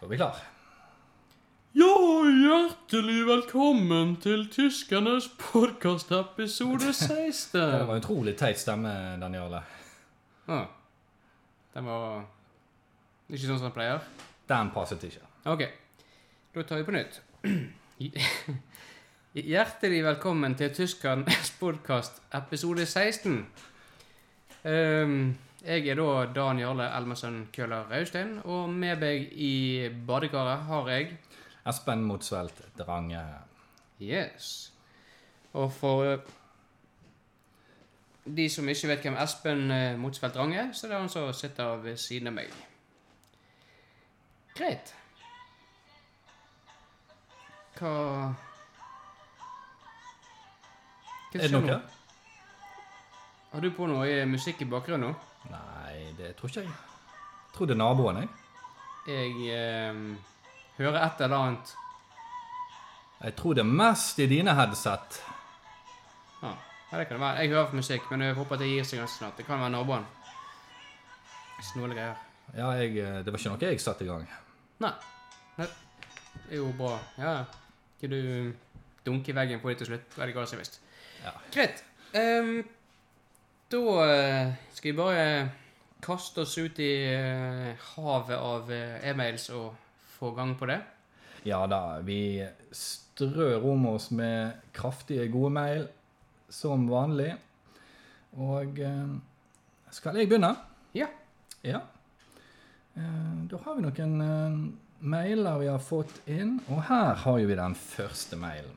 Da er vi klar. Ja, hjertelig velkommen til tyskernes podkast episode 16. Det var en utrolig teit stemme, Daniele. Ah. Den var ikke sånn som den pleier. Den passet ikke. Ok, da tar vi på nytt. Hjertelig velkommen til tyskernes podkast episode 16. Ehm, jeg er da Dan Jarle Elmesønn Køhler Raustein, og med meg i badekaret har jeg Espen Motsvelt Drange. Yes. Og for eh, de som ikke vet hvem Espen eh, Motsfeldt Rang er, så det er han som sitter ved siden av meg. Greit. Hva Hva Er det skjer noe? nå? Har du på noe eh, musikk i bakgrunnen nå? Nei, det tror ikke jeg. Jeg tror det er naboen, jeg. Jeg eh, hører et eller annet Jeg tror det er mest i dine headset. Ja, ja, det kan det være. Jeg hører på musikk, men jeg håper at det gir seg ganske snart. Det kan være naboen. Snåle greier. Ja, jeg, eh, det var ikke noe jeg satte i gang. Nei. Nei. Det er jo bra. Ja. Ikke du dunke i veggen på det til slutt. Veldig galt, visst. Ja. Greit. Ehm, da eh, skal vi bare kaste oss ut i eh, havet av eh, e-mails og få gang på det. Ja da, vi strør om oss med kraftige gode mail, som vanlig. Og eh, skal jeg begynne? Ja. Ja. Eh, da har vi noen eh, mailer vi har fått inn, og her har jo vi den første mailen.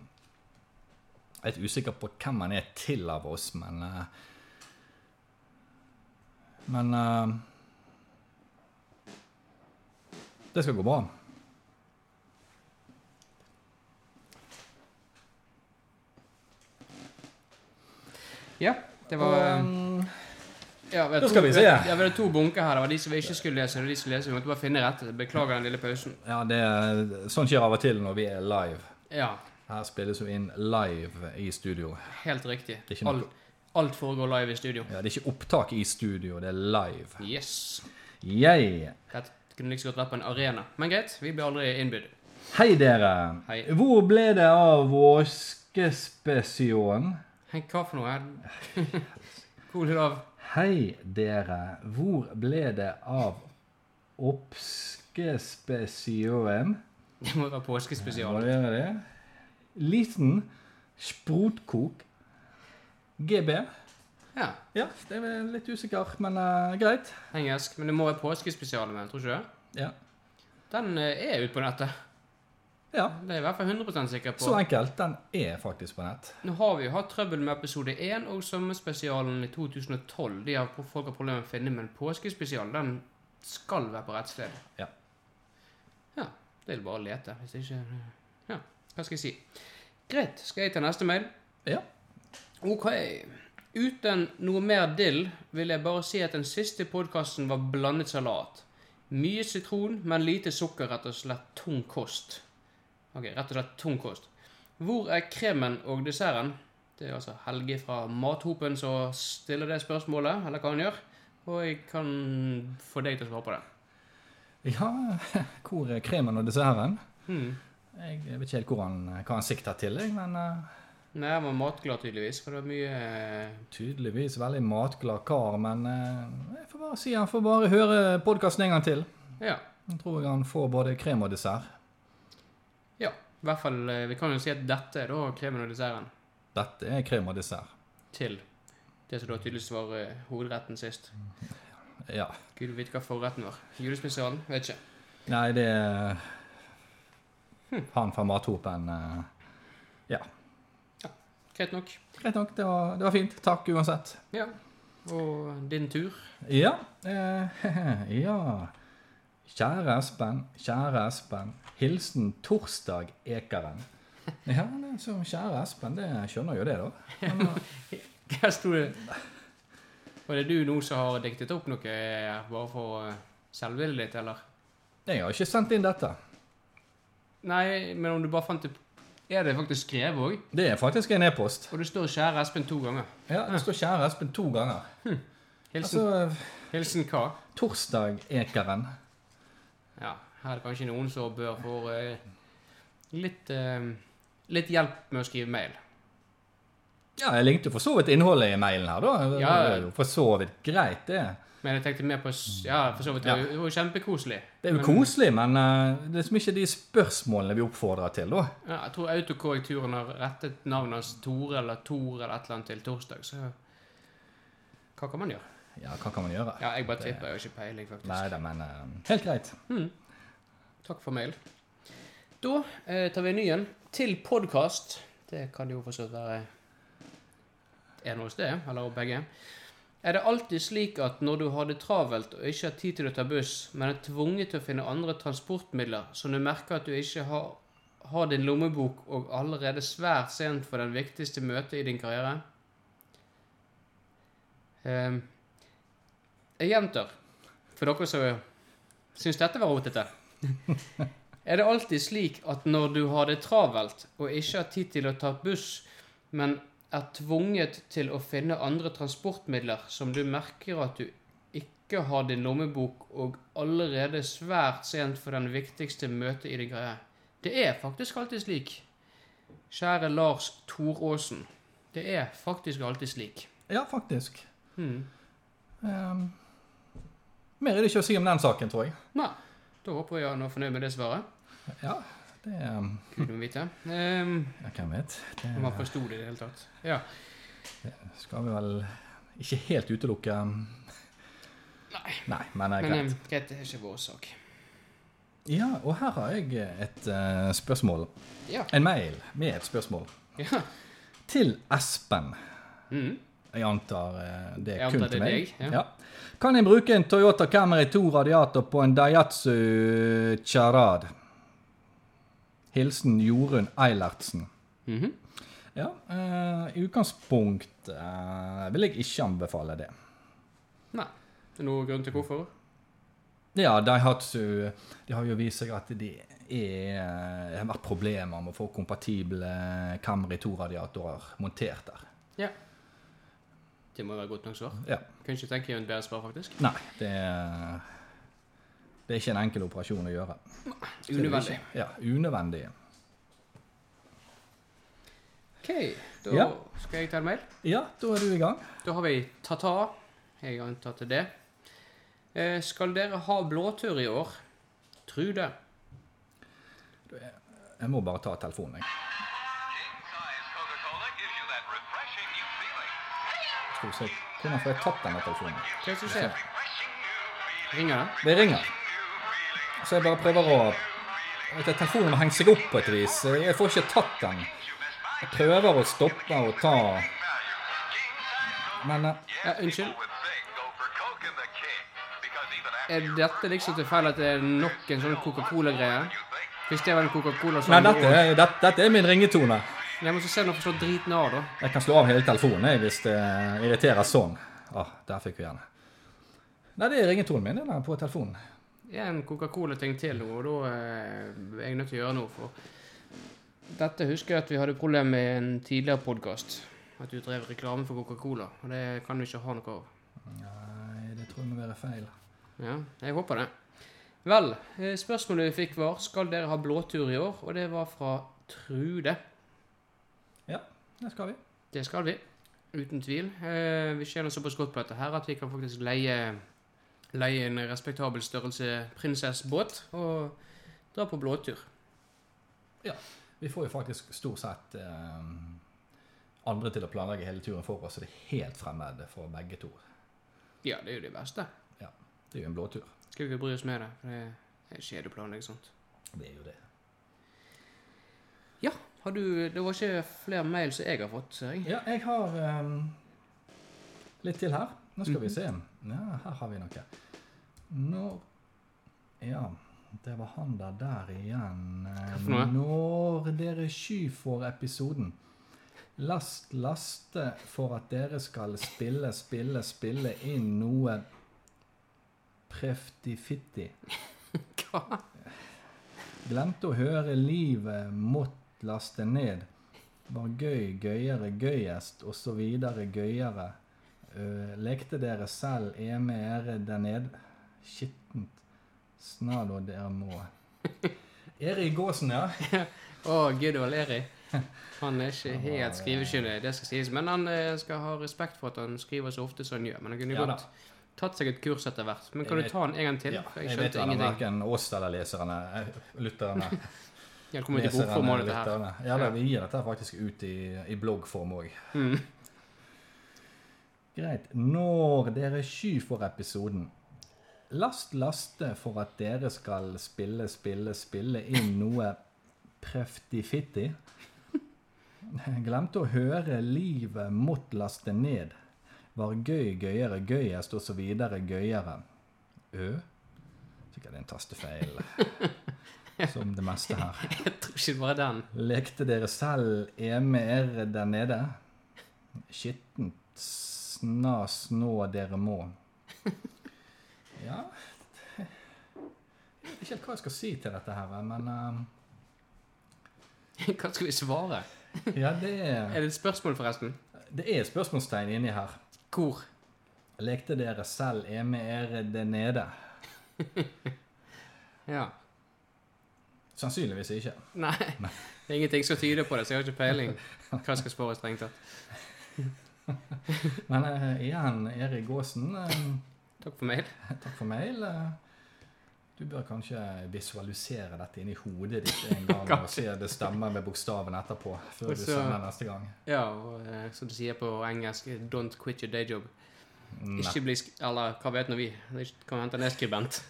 Jeg er litt usikker på hvem han er til av oss, men eh, Men eh, Det skal gå bra. Ja, det var Og, eh, ja, vi har da to- skal vi se. Ja, vi hadde to bunker her. Det var de som vi ikke skulle lese, og de som leste. Vi måtte bare finne rette. Beklager den lille pausen. Ja, det er, sånn skjer av og til når vi er live. Ja, Her spilles jo inn live i studio. helt riktig. Det er ikke noe- Alt, alt foregår live i studio. Ja, det er ikke opptak i studio, det er live. Yes. Yay! Dette kunne like så godt vært på en arena. Men greit, vi blir aldri innbudt. Hei dere! Hei. Hvor ble det av våskespesjonen? Henk, hva for noe? Cool it av. Hei dere, hvor ble det av oppskespesjonen? Det må være påskespesial. Var det det? Liten sprotkok. GB. Ja, Ja, det er vel litt usikker, men eh, greit. engelsk. Men det må være påskespesial med, tror ikke du det? Ja. Den eh, er ute på nettet. ja. Det er jeg i hvert fall 100 sikker Så på. enkelt. Den er faktisk på nett. Nå har vi jo hatt trøbbel med episode 1 og sommerspesialen i 2012. De har folk har problemer med å finne, men påskespesialen, den skal være på rett sted. Ja. Ja, det er jo bare å lete, hvis ikke Ja, hva skal jeg si? Greit, skal jeg ta neste mail? Ja. Ok. Uten noe mer dill vil jeg bare si at den siste podkasten var blandet salat. Mye sitron, men lite sukker, rett og slett tung kost. Ok, rett og slett tung kost. Hvor er kremen og desserten? Det er altså Helge fra Mathopen som stiller det spørsmålet, eller hva han gjør. Og jeg kan få deg til å svare på det. ja. Hvor er kremen og desserten? Hmm. Jeg vet ikke helt hvor han, eh, hva han sikter til, jeg, men eh, Nei, han var matglad tydeligvis, for det var mye eh, tydeligvis veldig matglad kar. Men eh, jeg får bare si han får bare høre podkasten en gang til. Ja. Jeg tror han får både krem og dessert. ja. I hvert fall, eh, vi kan jo si at dette er da kremen og desserten. Dette er krem og dessert. til det som da tydeligvis var eh, hovedretten sist. Ja. Gud vet hva forretten var. Julespesialen? Vet ikke. Nei, det er eh, han fra Mathopen. eh, Ja. Greit nok. Greit nok. Det var, det var fint. Takk uansett. Ja. Og din tur? Ja. Eh, ja. Kjære Espen, kjære Espen. Hilsen Torsdag Ekeren. Ja, det er så kjære Espen, det skjønner jo det, da. Men, eh, Hva sto det Var det du nå som har diktet opp noe eh, bare for eh, selvbildet ditt, eller? jeg har ikke sendt inn dette. Nei, men om du bare fant det Er det faktisk skrevet òg? Det er faktisk en e-post. Og du står 'Kjære Espen' to ganger. Ja, Det står 'Kjære Espen' to ganger. Hilsen, Altså hilsen hva? Torsdag Ekeren. Ja. Her er det kanskje noen som bør få eh, litt, eh, litt hjelp med å skrive mail. Ja, jeg likte for så vidt innholdet i mailen her, da. Det Ja, ja. var jo For så vidt greit, det. Men jeg tenkte mer på s- Ja, for så vidt. Det var jo- det var jo kjempekoselig. Det er jo Men- koselig, men eh, det er liksom ikke de spørsmålene vi oppfordrer til, da. Ja, jeg tror autokorrekturen har rettet navnet hans Tore eller Tor eller et eller annet til torsdag, så Hva kan man gjøre? Ja, hva kan man gjøre? Ja, jeg bare tipper. Jeg har ikke peiling, faktisk. Nei da, men eh, helt greit. Takk for mail. Da eh, tar vi en ny en. Til podkast. Det kan jo for så vidt være en hos deg, eller begge. Er det alltid slik at når du har det travelt og ikke har tid til å ta buss, men er tvunget til å finne andre transportmidler, som du merker at du ikke har, har din lommebok og allerede svært sent for den viktigste møtet i din karriere? Eh, jeg gjentar, for dere som syns dette var rotete. Er det alltid slik at når du har det travelt og ikke har tid til å ta buss, men er tvunget til å finne andre transportmidler som du merker at du ikke har din lommebok og allerede svært sent for den viktigste møtet i din greie? Det er faktisk alltid slik. Kjære Lars Thoråsen. Det er faktisk alltid slik. Ja, faktisk. Hmm. Eh, mer er det ikke å si om den saken, tror jeg. Nei, da håper jeg han var fornøyd med det svaret. Ja, det eh, Kult å vite. Um, ja, Hvem vet? Det om han forsto det i det hele tatt. Ja. skal vi vel ikke helt utelukke. Nei. Nei, men det er Men greit. eh, greit, det er ikke vår sak. Ja, og her har jeg et eh, spørsmål. Ja. En mail med et spørsmål. ja. Til Espen. Mm-hmm. Mm. Jeg antar eh, det er Jeg kun antar det til er meg. deg, ja. Kan jeg bruke en Toyota Camry 2 radiator på en Daihatsu Charad? Hilsen Jorunn Eilertsen. Mm-hmm. Mhm. Ja, eh, i utgangspunkt eh, vil jeg ikke anbefale det. Nei. Det er noen grunn til hvorfor? Ja, Daihatsu de har jo vist seg at de er, det har vært problemer med å få kompatible Camry 2-radiatorer montert der. Ja. Det må være godt nok svar. Ja. Kunne ikke tenke meg et bedre svar, faktisk. Nei, det er, det er ikke en enkel operasjon å gjøre. Unødvendig. Ja, unødvendig. OK, da Ja. skal jeg ta en mail. Ja, da er du i gang. Da har vi Tata. Jeg antar til det. Eh, skal dere ha blåtur i år? Tru det. Jeg må bare ta telefonen, jeg. Kai's Coca-Cola gives you that refreshing new feeling. Skal vi se. Hvordan får jeg tatt denne telefonen? Hva er det som skjer? Refreshing new feeling. Ringer det? Det ringer. Så jeg bare prøver å Vet du, Telefonen må henge seg opp på et vis. Jeg får ikke tatt den. Jeg prøver å stoppe og ta Value. King size Coke. Men eh, Yes, Ja, unnskyld. people would say go for Coke and the King. Because even after Er dette liksom tilfeldig at det er nok en sånn Coca-Cola-greie? you think Hvis det var en Coca-Cola Nei, sånn dette, år- er- dette, dette er min ringetone. Jeg må så se når jeg forstår driten av, da. Jeg kan slå av hele telefonen jeg, hvis det irriterer sånn. Å, der fikk vi den. Nei, det er ringetonen min den er på telefonen. en Coca-Cola-ting til nå, og da eh, er jeg nødt til å gjøre noe. For dette husker jeg at vi hadde problemer med i en tidligere podkast. At du drev reklame for Coca-Cola, og det kan vi ikke ha noe av. Nei, det tror jeg må være feil. Ja, jeg håper det. Vel, eh, spørsmålet vi fikk var skal dere ha blåtur i år, og det var fra Trude. Ja, det skal vi. Det skal vi. Uten tvil. Eh, vi tjener såpass godt på dette her at vi kan faktisk leie, leie en respektabel størrelse prinsessbåt og dra på blåtur. Vi får jo faktisk stort sett eh, andre til å planlegge hele turen for oss, så det er helt fremmed for begge to. Ja, det er jo det verste. Det er jo en blåtur. Skal ikke bry oss med det. For det er kjedeplanlegging sånt. Det er jo det. Ja, har du Det var ikke flere mail som jeg har fått, ser jeg. Ja, jeg har eh, litt til her. Nå skal vi se. Ja, her har vi noe. Når Ja, det var han der der igjen. Eh, Hva for noe? Når dere sky for episoden. Last laste for at dere skal spille, spille, spille inn noe preftifitti. Hva? Glemte å høre livet mått laste ned. Var gøy, gøyere, gøyest, og så videre, gøyere. E Ø, lekte dere selv, er med ere der ned. Skittent. Snad og der må Erik Gåsen, ja. Å, Gud Valeri. Han er ikke helt skrivekyndig, det skal sies. Men han eh, skal ha respekt for at han skriver så ofte som han gjør. Men han kunne Ja da. godt tatt seg et kurs etter hvert. Men kan Jeg du ta den en gang til? ja. For jeg Jeg vet skjønte vel ingenting. verken oss eller leserne, eh, lytterne, Jeg kommer til bokformålet dette her. lytterne. Ja, da, vi gir dette faktisk ut i, i bloggform òg. Mm. Greit. Når dere er sky for episoden, last laste for at dere skal spille, spille, spille inn noe preftifitti. Glemte å høre 'Livet mått laste ned'. Var gøy, gøyere, gøyest, og så videre, gøyere. Ø? Sikkert en tastefeil. Som det meste her. Jeg tror ikke det var den. Lekte dere selv EMR der nede? Skittent snas nå dere må. Ja Jeg vet ikke helt hva jeg skal si til dette her, men eh, Hva skal vi svare? Ja, det er, Er det et spørsmål, forresten? det er spørsmålstegn inni her. Hvor? Lekte dere selv EMR der nede? Ja. Sannsynligvis ikke. Nei. Det er ingenting som tyder på det, så jeg har ikke peiling hva jeg skal svare strengt tatt. Men eh, igjen, Erik Aasen, eh, Takk for mail. takk for mail. eh. Du bør kanskje visualisere dette inni hodet ditt en gang og se det stemmer med bokstaven etterpå. før Og du så- sender neste gang. Ja, og eh, som du sier på engelsk, don't quit your day job. Nei. Ikke bli sk... Eller hva vet nå vi? Det kan hende han er skribent.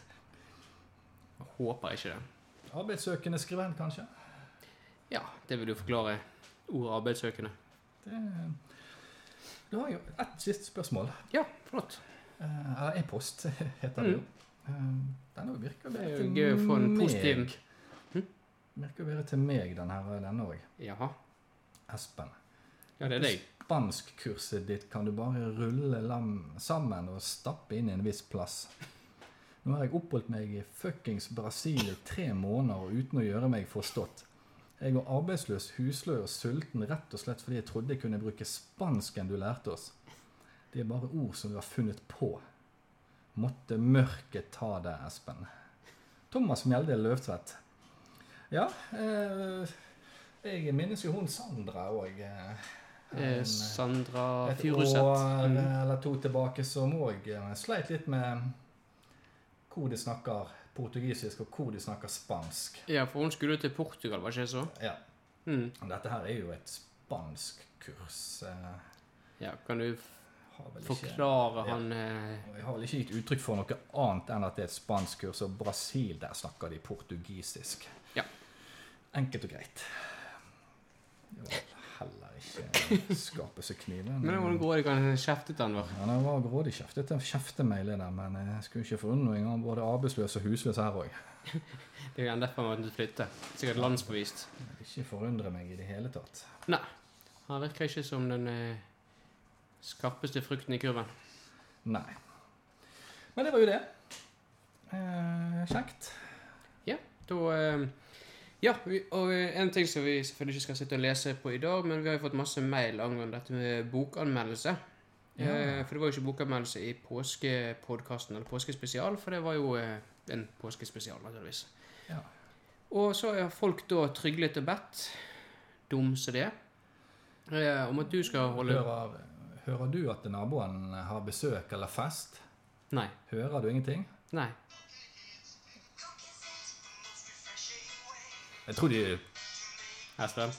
Jeg Håper ikke det. Arbeidssøkende skribent, kanskje? Ja, det vil jo forklare ordet arbeidssøkende. Det... Du har jo ett siste spørsmål. Ja, flott. Eh, Eller e-post, heter det jo. Eh, Den virker å Mm. Det være er jo til gøy å få en meg. positiv Virker å være til meg, den her, denne òg. Jaha. Espen. Ja, det er deg. Spanskkurset ditt kan du bare rulle lam sammen og stappe inn i en viss plass. Nå har jeg oppholdt meg i fuckings Brasil i tre måneder uten å gjøre meg forstått. Jeg var arbeidsløs, husløy og sulten rett og slett fordi jeg trodde jeg kunne bruke spansken du lærte oss. Det er bare ord som vi har funnet på. Måtte mørket ta deg, Espen. Thomas Mjelde Løvtvedt. Ja, eh, jeg minnes jo hun Sandra òg. Eh. Eh, Sandra Et år Furuseth. eh, Mm. eller to tilbake som òg eh, sleit litt med hvor de snakker portugisisk, og hvor de snakker spansk. Ja, for hun skulle jo til Portugal, var ikke det så? Ja, Mm. og Dette her er jo et spanskkurs. eh, Ja, kan du f- Har vel ikke, forklare Ja. han eh, jeg har vel ikke gitt uttrykk for noe annet enn at det er et spanskkurs, og Brasil, der snakker de portugisisk. Ja. Enkelt og greit. Det var heller ikke skape seg kniven. Men hvordan går det kan kjeftet han var? Ja, det var grådig kjeftet til kjeftemeilig der, men jeg skulle ikke forundre meg om både arbeidsløs og husløs her òg. Det er jo gjerne derfor han måtte flytte. Sikkert landsbevist. Ikke forundre meg i det hele tatt. Nei, han virker ikke som den eh, skarpeste frukten i kurven. Nei. Men det var jo det. Eh, kjekt. Da eh, Ja, vi, og eh, en ting som vi selvfølgelig ikke skal sitte og lese på i dag, men vi har jo fått masse mail angående dette med bokanmeldelse. Ja. Eh, for det var jo ikke bokanmeldelse i påskepodkasten eller påskespesial, for det var jo eh, en påskespesial, naturligvis. Ja. Og så har folk da tryglet og bedt, dum som det, eh, om at du skal holde Hører, hører du at naboen har besøk eller fest? Nei. Hører du ingenting? Nei. Jeg tror de Espen.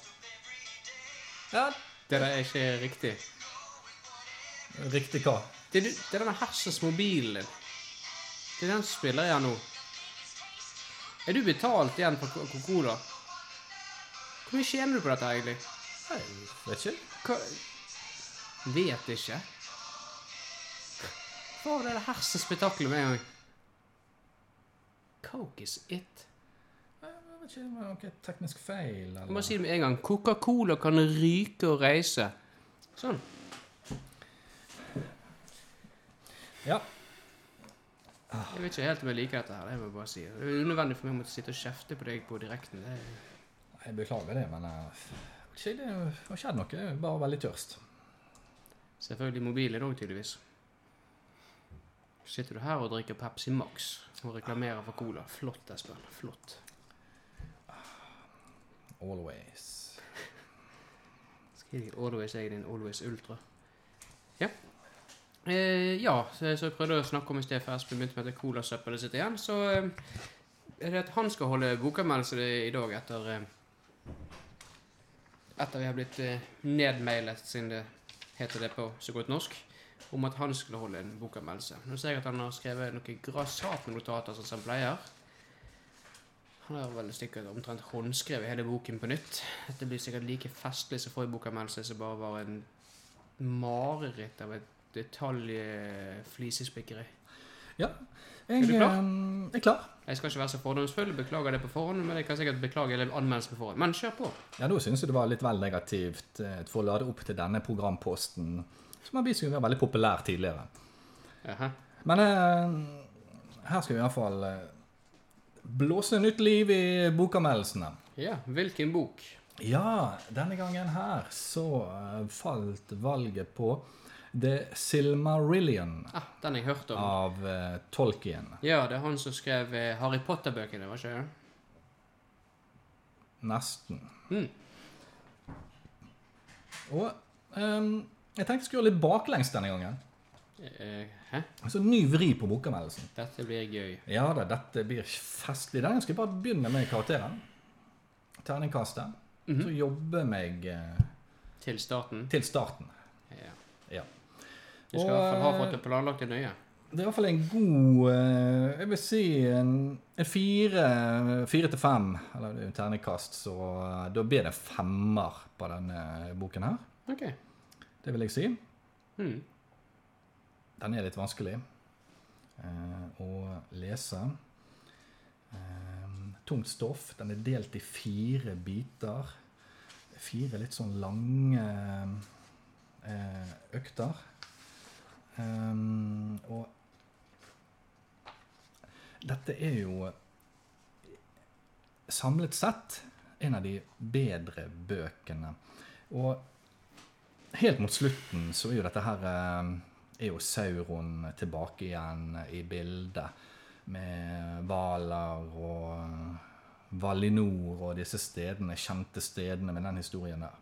Ja, Det der er ikke riktig. riktig hva? Det er, du- det er denne hersens mobilen din. Det er den som spiller jeg nå. Er du betalt igjen for Coca- Coca-Cola? Hvor mye tjener du på dette egentlig? Nei, vet ikke. Hva? Vet ikke. Hva var det der hersens spetakkelet med en gang? Coke is it. Jeg vet ikke, det var noe teknisk feil, Jeg må eller si det med en gang. Coca-Cola kan ryke og reise. Sånn. Ja. Jeg vet ikke helt om jeg liker dette her. Det må jeg bare si. Det er unødvendig for meg å måtte sitte og kjefte på deg på direkten. Det er... Jeg beklager det, men eh, jeg vet ikke, det har skjedd noe. Jeg er Bare veldig tørst. Selvfølgelig mobiler òg, tydeligvis. Sitter du her og drikker Pepsi Max og reklamerer for Cola? Flott, Espen. Flott. Always. Skriv i Always jeg er din Always Ultra. Ja. Eh, ja, så, så jeg prøvde å snakke om i sted for Espen begynte med at colasøppelet sitt igjen. Så eh, er det at han skal holde bokanmeldelse i dag etter eh, Etter vi har blitt eh, nedmailet, siden det heter det på så godt norsk, om at han skulle holde en bokanmeldelse. Nå ser jeg at han har skrevet noen grassatnotater som han pleier. Han har vel sikkert omtrent håndskrevet hele boken på nytt. Dette blir sikkert like festlig som forrige bokanmeldelse, som bare var en mareritt av et detaljflisespikkeri. Ja. Er Jeg du klar? eh, er klar. Jeg skal ikke være så fordomsfull, beklager det på forhånd, men jeg kan sikkert beklage hele anmeldelsen på forhånd. Men kjør på! Ja, da syns jeg det var litt vel negativt eh, for å lade opp til denne programposten, som har vist seg å være veldig populær tidligere. Jaha. Men eh, her skal vi iallfall eh, blåse nytt liv i bokanmeldelsene. Ja, hvilken bok? Ja, denne gangen her så eh, falt valget på The Silmarillion Ah, den jeg hørte om. av eh, Tolkien. Ja, det er han som skrev eh, Harry Potter-bøkene, var ikke det? Nesten. Mm. Og ehm, jeg tenkte jeg skulle gjøre litt baklengs denne gangen. Eh, hæ? Altså ny vri på bokanmeldelsen. Dette blir gøy. Ja da, dette blir festlig. Denne skal jeg bare begynne med karakteren. Terningkastet. Så jobbe meg eh, Til starten. til starten. Ja. Ja. Du skal i Og, hvert fall ha eh, fått det planlagt det nøye. Det er i hvert fall en god eh, Jeg vil si en, en fire, fire til fem. Eller det er jo terningkast, så eh, da blir det femmer på denne boken her. Ok. Det vil jeg si. Hmm. Den er litt vanskelig eh, å lese. Eh, tungt stoff. Den er delt i fire biter. Fire litt sånn lange eh, økter. Eh, og dette er jo samlet sett en av de bedre bøkene. Og helt mot slutten så er jo dette her eh, Er jo Sauron tilbake igjen i bildet. Med Valar og Valinor og disse stedene, kjente stedene med den historien der.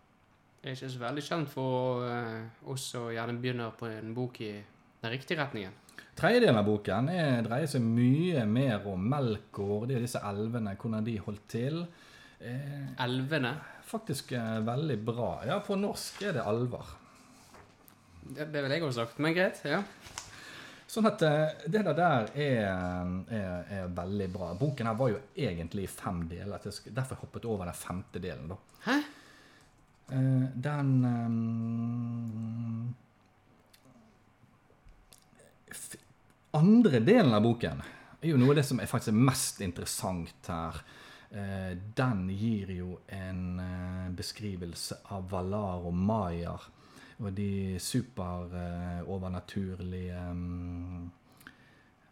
Det er ikke så veldig kjent for eh, oss som gjerne begynner på en bok i den riktige retningen. Tredjedelen av boken er, dreier seg mye mer om Melkor, det er disse elvene, hvordan de holdt til. Eh, Elvene. faktisk eh, veldig bra. Ja, på norsk er det alver. Det, det vil jeg også ha sagt, men greit. Ja. Sånn at eh, det der, der er, er, er veldig bra. Boken her var jo egentlig i fem deler. at jeg sk- Derfor hoppet jeg over den femte delen. da. Hæ? Eh, Den eh, f- andre delen av boken er jo noe av det som er faktisk er mest interessant her. Eh, Den gir jo en eh, beskrivelse av Valar og Maier og de eh, superovernaturlige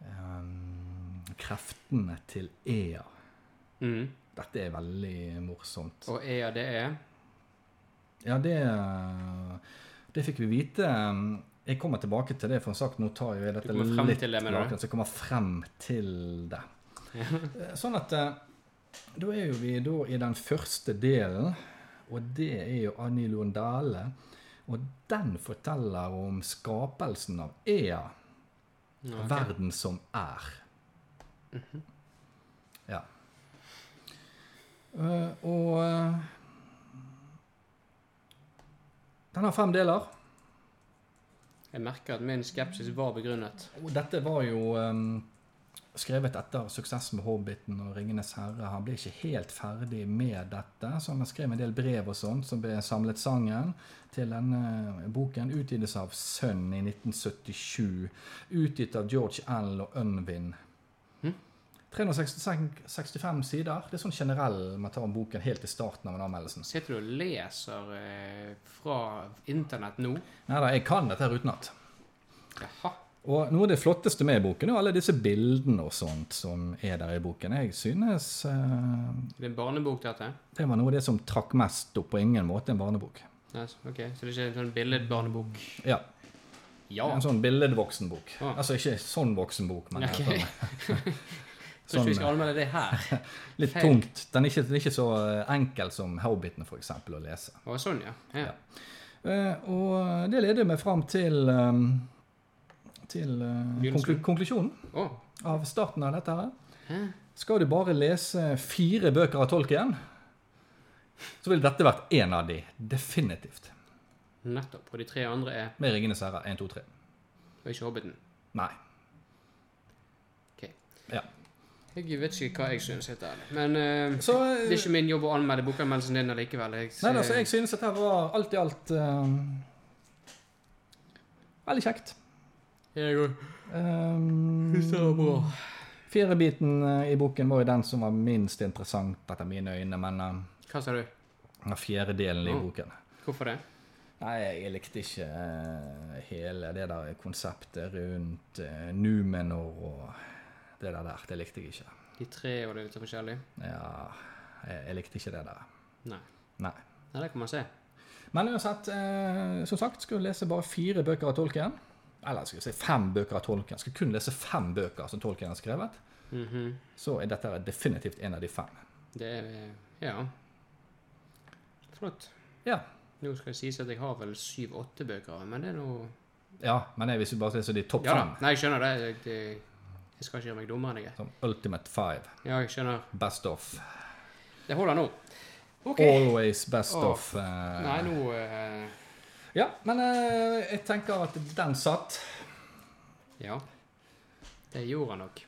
ehm, kreftene til Ea. Mm. Dette er veldig morsomt. Og EA, det er Ja, det, det fikk vi vite. Jeg kommer tilbake til det, for som sagt, nå tar jo jeg dette kommer frem litt til det, mener du? tilbake, så jeg kommer frem til det. Eh, Sånn at eh, da er jo vi da i den første delen, og det er jo Annie Lundale. Og den forteller om skapelsen av Ea, Ja, ok. verden som er. Ja. Eh, og eh, Den har fem deler. Jeg merker at min skepsis var begrunnet. Og dette var jo ehm, skrevet etter suksess med 'Hobbiten' og 'Ringenes herre'. Han ble ikke helt ferdig med dette, så han skrev en del brev og sånt som ble samlet sangen til denne boken. Utgives av Sønn i 1977. Utgitt av George L. og Unwin. 365 sider. Det er sånn generell man tar om boken helt i starten av en anmeldelse. Sitter du og leser eh, fra internett nå? Nei da, jeg kan dette her utenat. Jaha. Og noe av det flotteste med boken er jo alle disse bildene og sånt som er der i boken. Jeg synes eh, Det er en barnebok, dette? det var noe av det som trakk mest opp. På ingen måte en barnebok. Nei, s- ok, Så det er ikke en sånn billedbarnebok? Ja. Ja. En sånn billedvoksenbok. Ah. Altså ikke sånn voksenbok, men Ok. sånn, Tror ikke vi skal sånn, anmelde det her. litt feil. tungt. Den er ikke, den er ikke så eh, enkel som Hobbitene, for eksempel, å lese. Å, sånn, ja. ja. Eh, og det leder meg fram til, ehm, til eh, konklu Begynnelsen. konklusjonen Å, av starten av dette her. Hæ? Skal du bare lese fire bøker av tolk igjen, så ville dette vært én av de. Definitivt. nettopp. Og de tre andre er Med 'Ringenes herre' 1, 2, 3. Og ikke Hobbiten. Nei. Ok. Ja. Jeg vet ikke hva jeg synes, helt ærlig. Men eh, Så det er ikke min jobb å anmelde bokanmeldelsen din allikevel. Jeg, Nei, altså, jeg synes dette her var alt i alt ehm, Veldig kjekt. Jeg går- Um, synes det var bra. Firebiten eh, i boken var jo den som var minst interessant etter mine øyne, men eh, Hva sa du? den fjerde delen i Ja. boken Hvorfor det? Nei, jeg likte ikke eh, hele det der konseptet rundt eh, Numenor og det der der. Det likte jeg ikke. De tre og det er litt forskjellig? Ja, jeg, jeg likte ikke det der. Nei. Nei. Nei, det kan man se. Men uansett, eh, som sagt, skal du lese bare fire bøker av Tolkien. Eller skal vi si fem bøker av Tolkien. Skal du kun lese fem bøker som Tolkien har skrevet, Mhm. så er dette definitivt en av de fem. Det er Ja. Flott. Ja. Nå skal det sies at jeg har vel syv-åtte bøker, men det er nå ja men jeg vil bare lese de topp Ja fem. da. Nei, jeg skjønner det. Jeg, det- jeg skal ikke gjøre meg dummere enn jeg er. Som Ultimate Five. Ja, jeg skjønner. Best of. Det holder nå. OK. Always best Åh. of. eh. Nei, nå eh, Ja, men eh, jeg tenker at den satt. Ja. Det gjorde han nok.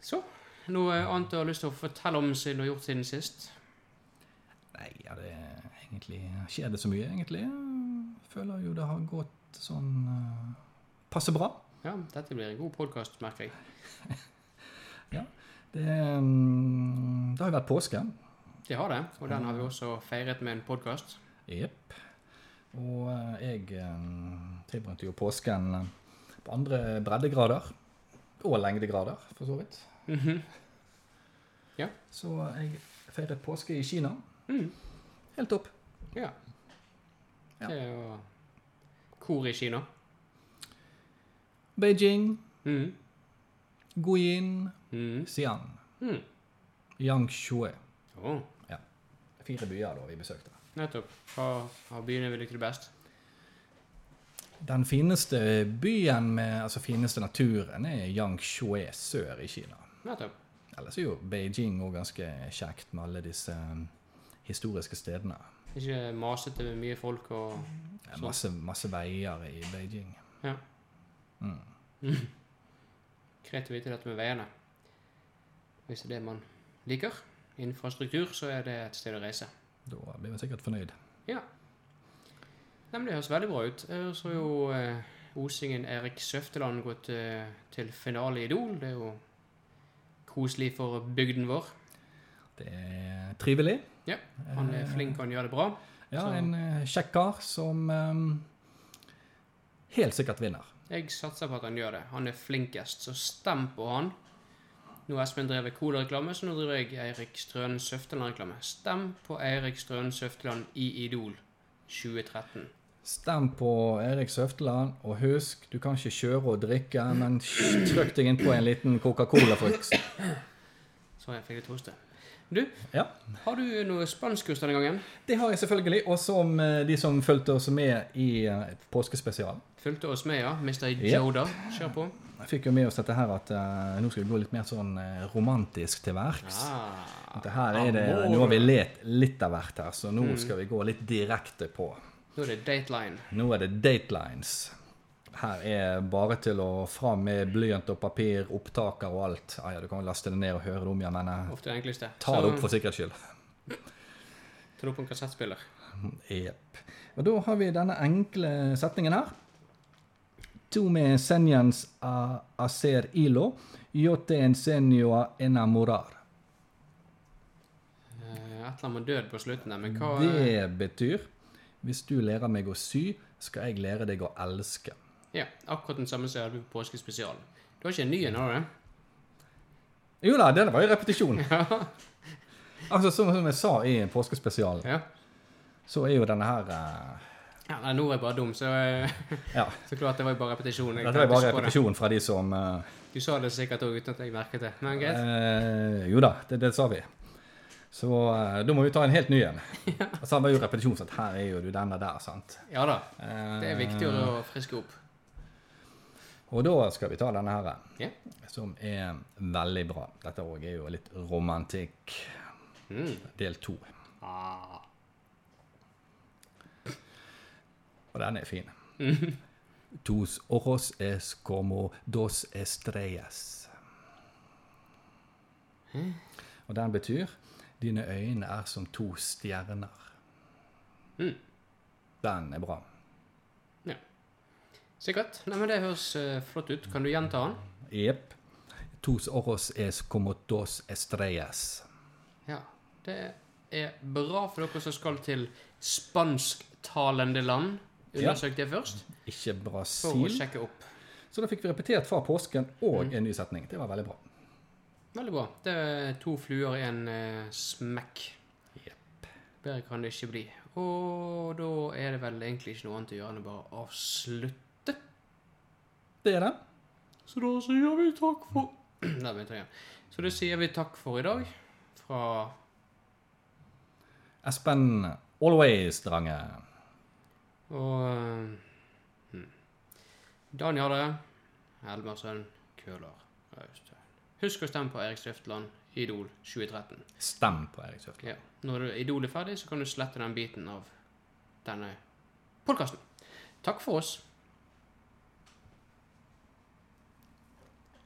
Så. Noe annet du har lyst til å fortelle om siden du har gjort siden sist? Nei, ja, det er egentlig Skjer det så mye, egentlig? Jeg føler jo det har gått sånn eh, passe bra. Ja, dette blir en god podkast, merker jeg. Det, mm, det har jo vært påske. Det har det, og den har vi også feiret med en podkast. Jepp. Og eh, jeg eh, tilbringte jo påsken eh, på andre breddegrader. Og lengdegrader, for så vidt. Mhm. Ja. Så jeg feiret påske i Kina. Mm. Helt topp. Ja. Ja. Det er jo kor i Kina. Beijing, Mm. Guyin, Mm. Xi'an, Mm. Yangshui. Å, Fire byer da vi besøkte. nettopp. Hva av byene vi likte best? Den fineste byen med altså fineste naturen er Yangshui sør i Kina. Nettopp. Ellers er jo Beijing òg ganske kjekt med alle disse eh, historiske stedene. Ikke masete med mye folk og Det er Masse, masse veier i Beijing. Ja. Greit å vite dette med veiene. Hvis det er det man liker infrastruktur, så er det et sted å reise. Da blir vi sikkert fornøyd. Ja. Nei, men det høres veldig bra ut. Eh, Så er jo eh, Osingen Erik Søfteland gått eh, til finale i Idol. Det er jo koselig for bygden vår. Det er trivelig. Ja, han er flink, han gjør det bra. Ja, Så- En eh, kjekk kar som eh, helt sikkert vinner. Jeg satser på at han gjør det. Han er flinkest, så stem på han. Nå har Espen drevet Cola-reklame, så nå driver jeg Eirik Strønen Søfteland-reklame. Stem på Eirik Strønen Søfteland i Idol 2013. Stem på Erik Søfteland, og husk, du kan ikke kjøre og drikke, men sj- trykk deg innpå en liten Coca-Cola. for eks- Så jeg fikk litt hoste. Du, Ja, har du noe spanskkurs denne gangen? Det har jeg selvfølgelig. Og som eh, de som fulgte oss med i eh, påskespesialen. Fulgte oss med, ja. Mr. Ja. Joda. Kjør på. Jeg fikk jo med oss dette her at eh, nå skal vi gå litt mer sånn eh, romantisk til verks. Ah. At det her er det, Amor. nå har vi let litt av hvert her, så nå skal vi gå litt direkte på. Nå er det Dateline. Nå er det datelines. Her er bare til å fram med blyant og papir, opptaker og alt. Ah, ja, du kan jo laste det ned og høre det om igjen, men eh, Ofte det enkleste. ta det opp for sikkerhets skyld. Ta det opp på en kassettspiller. Jep. Og da har vi denne enkle setningen her. Tu me enseñas a hacer hilo, yo te enseño a enamorar. Eh, Et eller annet med død på slutten der, men hva Det betyr hvis du lærer meg å sy, skal jeg lære deg å elske. Ja, akkurat den samme som jeg hadde på påskespesialen. Du har ikke en ny en, har du det? Jo da, det var jo repetisjon. Altså, som, som jeg sa i påskespesialen, Ja. så er jo denne her eh, Ja, nei, nå er jeg bare dum, så eh, Ja. så klart det var jo bare repetisjon. Jeg Dette var jo tenkte bare ikke på det. repetisjon fra de som eh, Du sa det sikkert òg uten at jeg merket det. Men greit. eh, Jo da, det, det sa vi. Så eh, da må vi ta en helt ny en. Og så har vi jo repetisjon, sånn at her er jo du denne der, sant. Ja da. Eh, Det er viktig å friske opp. Og da skal vi ta denne her, eh, Ja. som er veldig bra. Dette òg er jo litt romantikk. Mm. Del to. Ah. Og den er fin. Mm. Tus ojos es como dos estrellas. Og den betyr Dine øyne er som to stjerner. Mm. Den er bra. ja. Sikkert. Nei, men Det høres eh, flott ut. Kan du gjenta den? Jepp. Tus ojos es como dos estrellas. Ja. Det er bra for dere som skal til spansktalende land. Undersøk det først, Ikke for å Brasil. sjekke Mm. opp. Så da fikk vi repetert fra påsken og en ny setning. Det var veldig bra. Veldig bra. Det er to fluer i en eh, smekk. Bedre kan det ikke bli. Og da er det vel egentlig ikke noe annet å gjøre enn å bare avslutte. Det er det. Så da sier vi takk for Der begynte jeg igjen. Så da sier vi takk for i dag fra Espen Always, Drange. Og eh, hmm. Dan Jarle, Helmersen, Køhler, Raustein. Husk å stemme på Erik Stiftland, Idol 2013. Stem på Erik Søfteland. Ja. Når du- Idol er ferdig, så kan du slette den biten av denne podkasten. Takk for oss.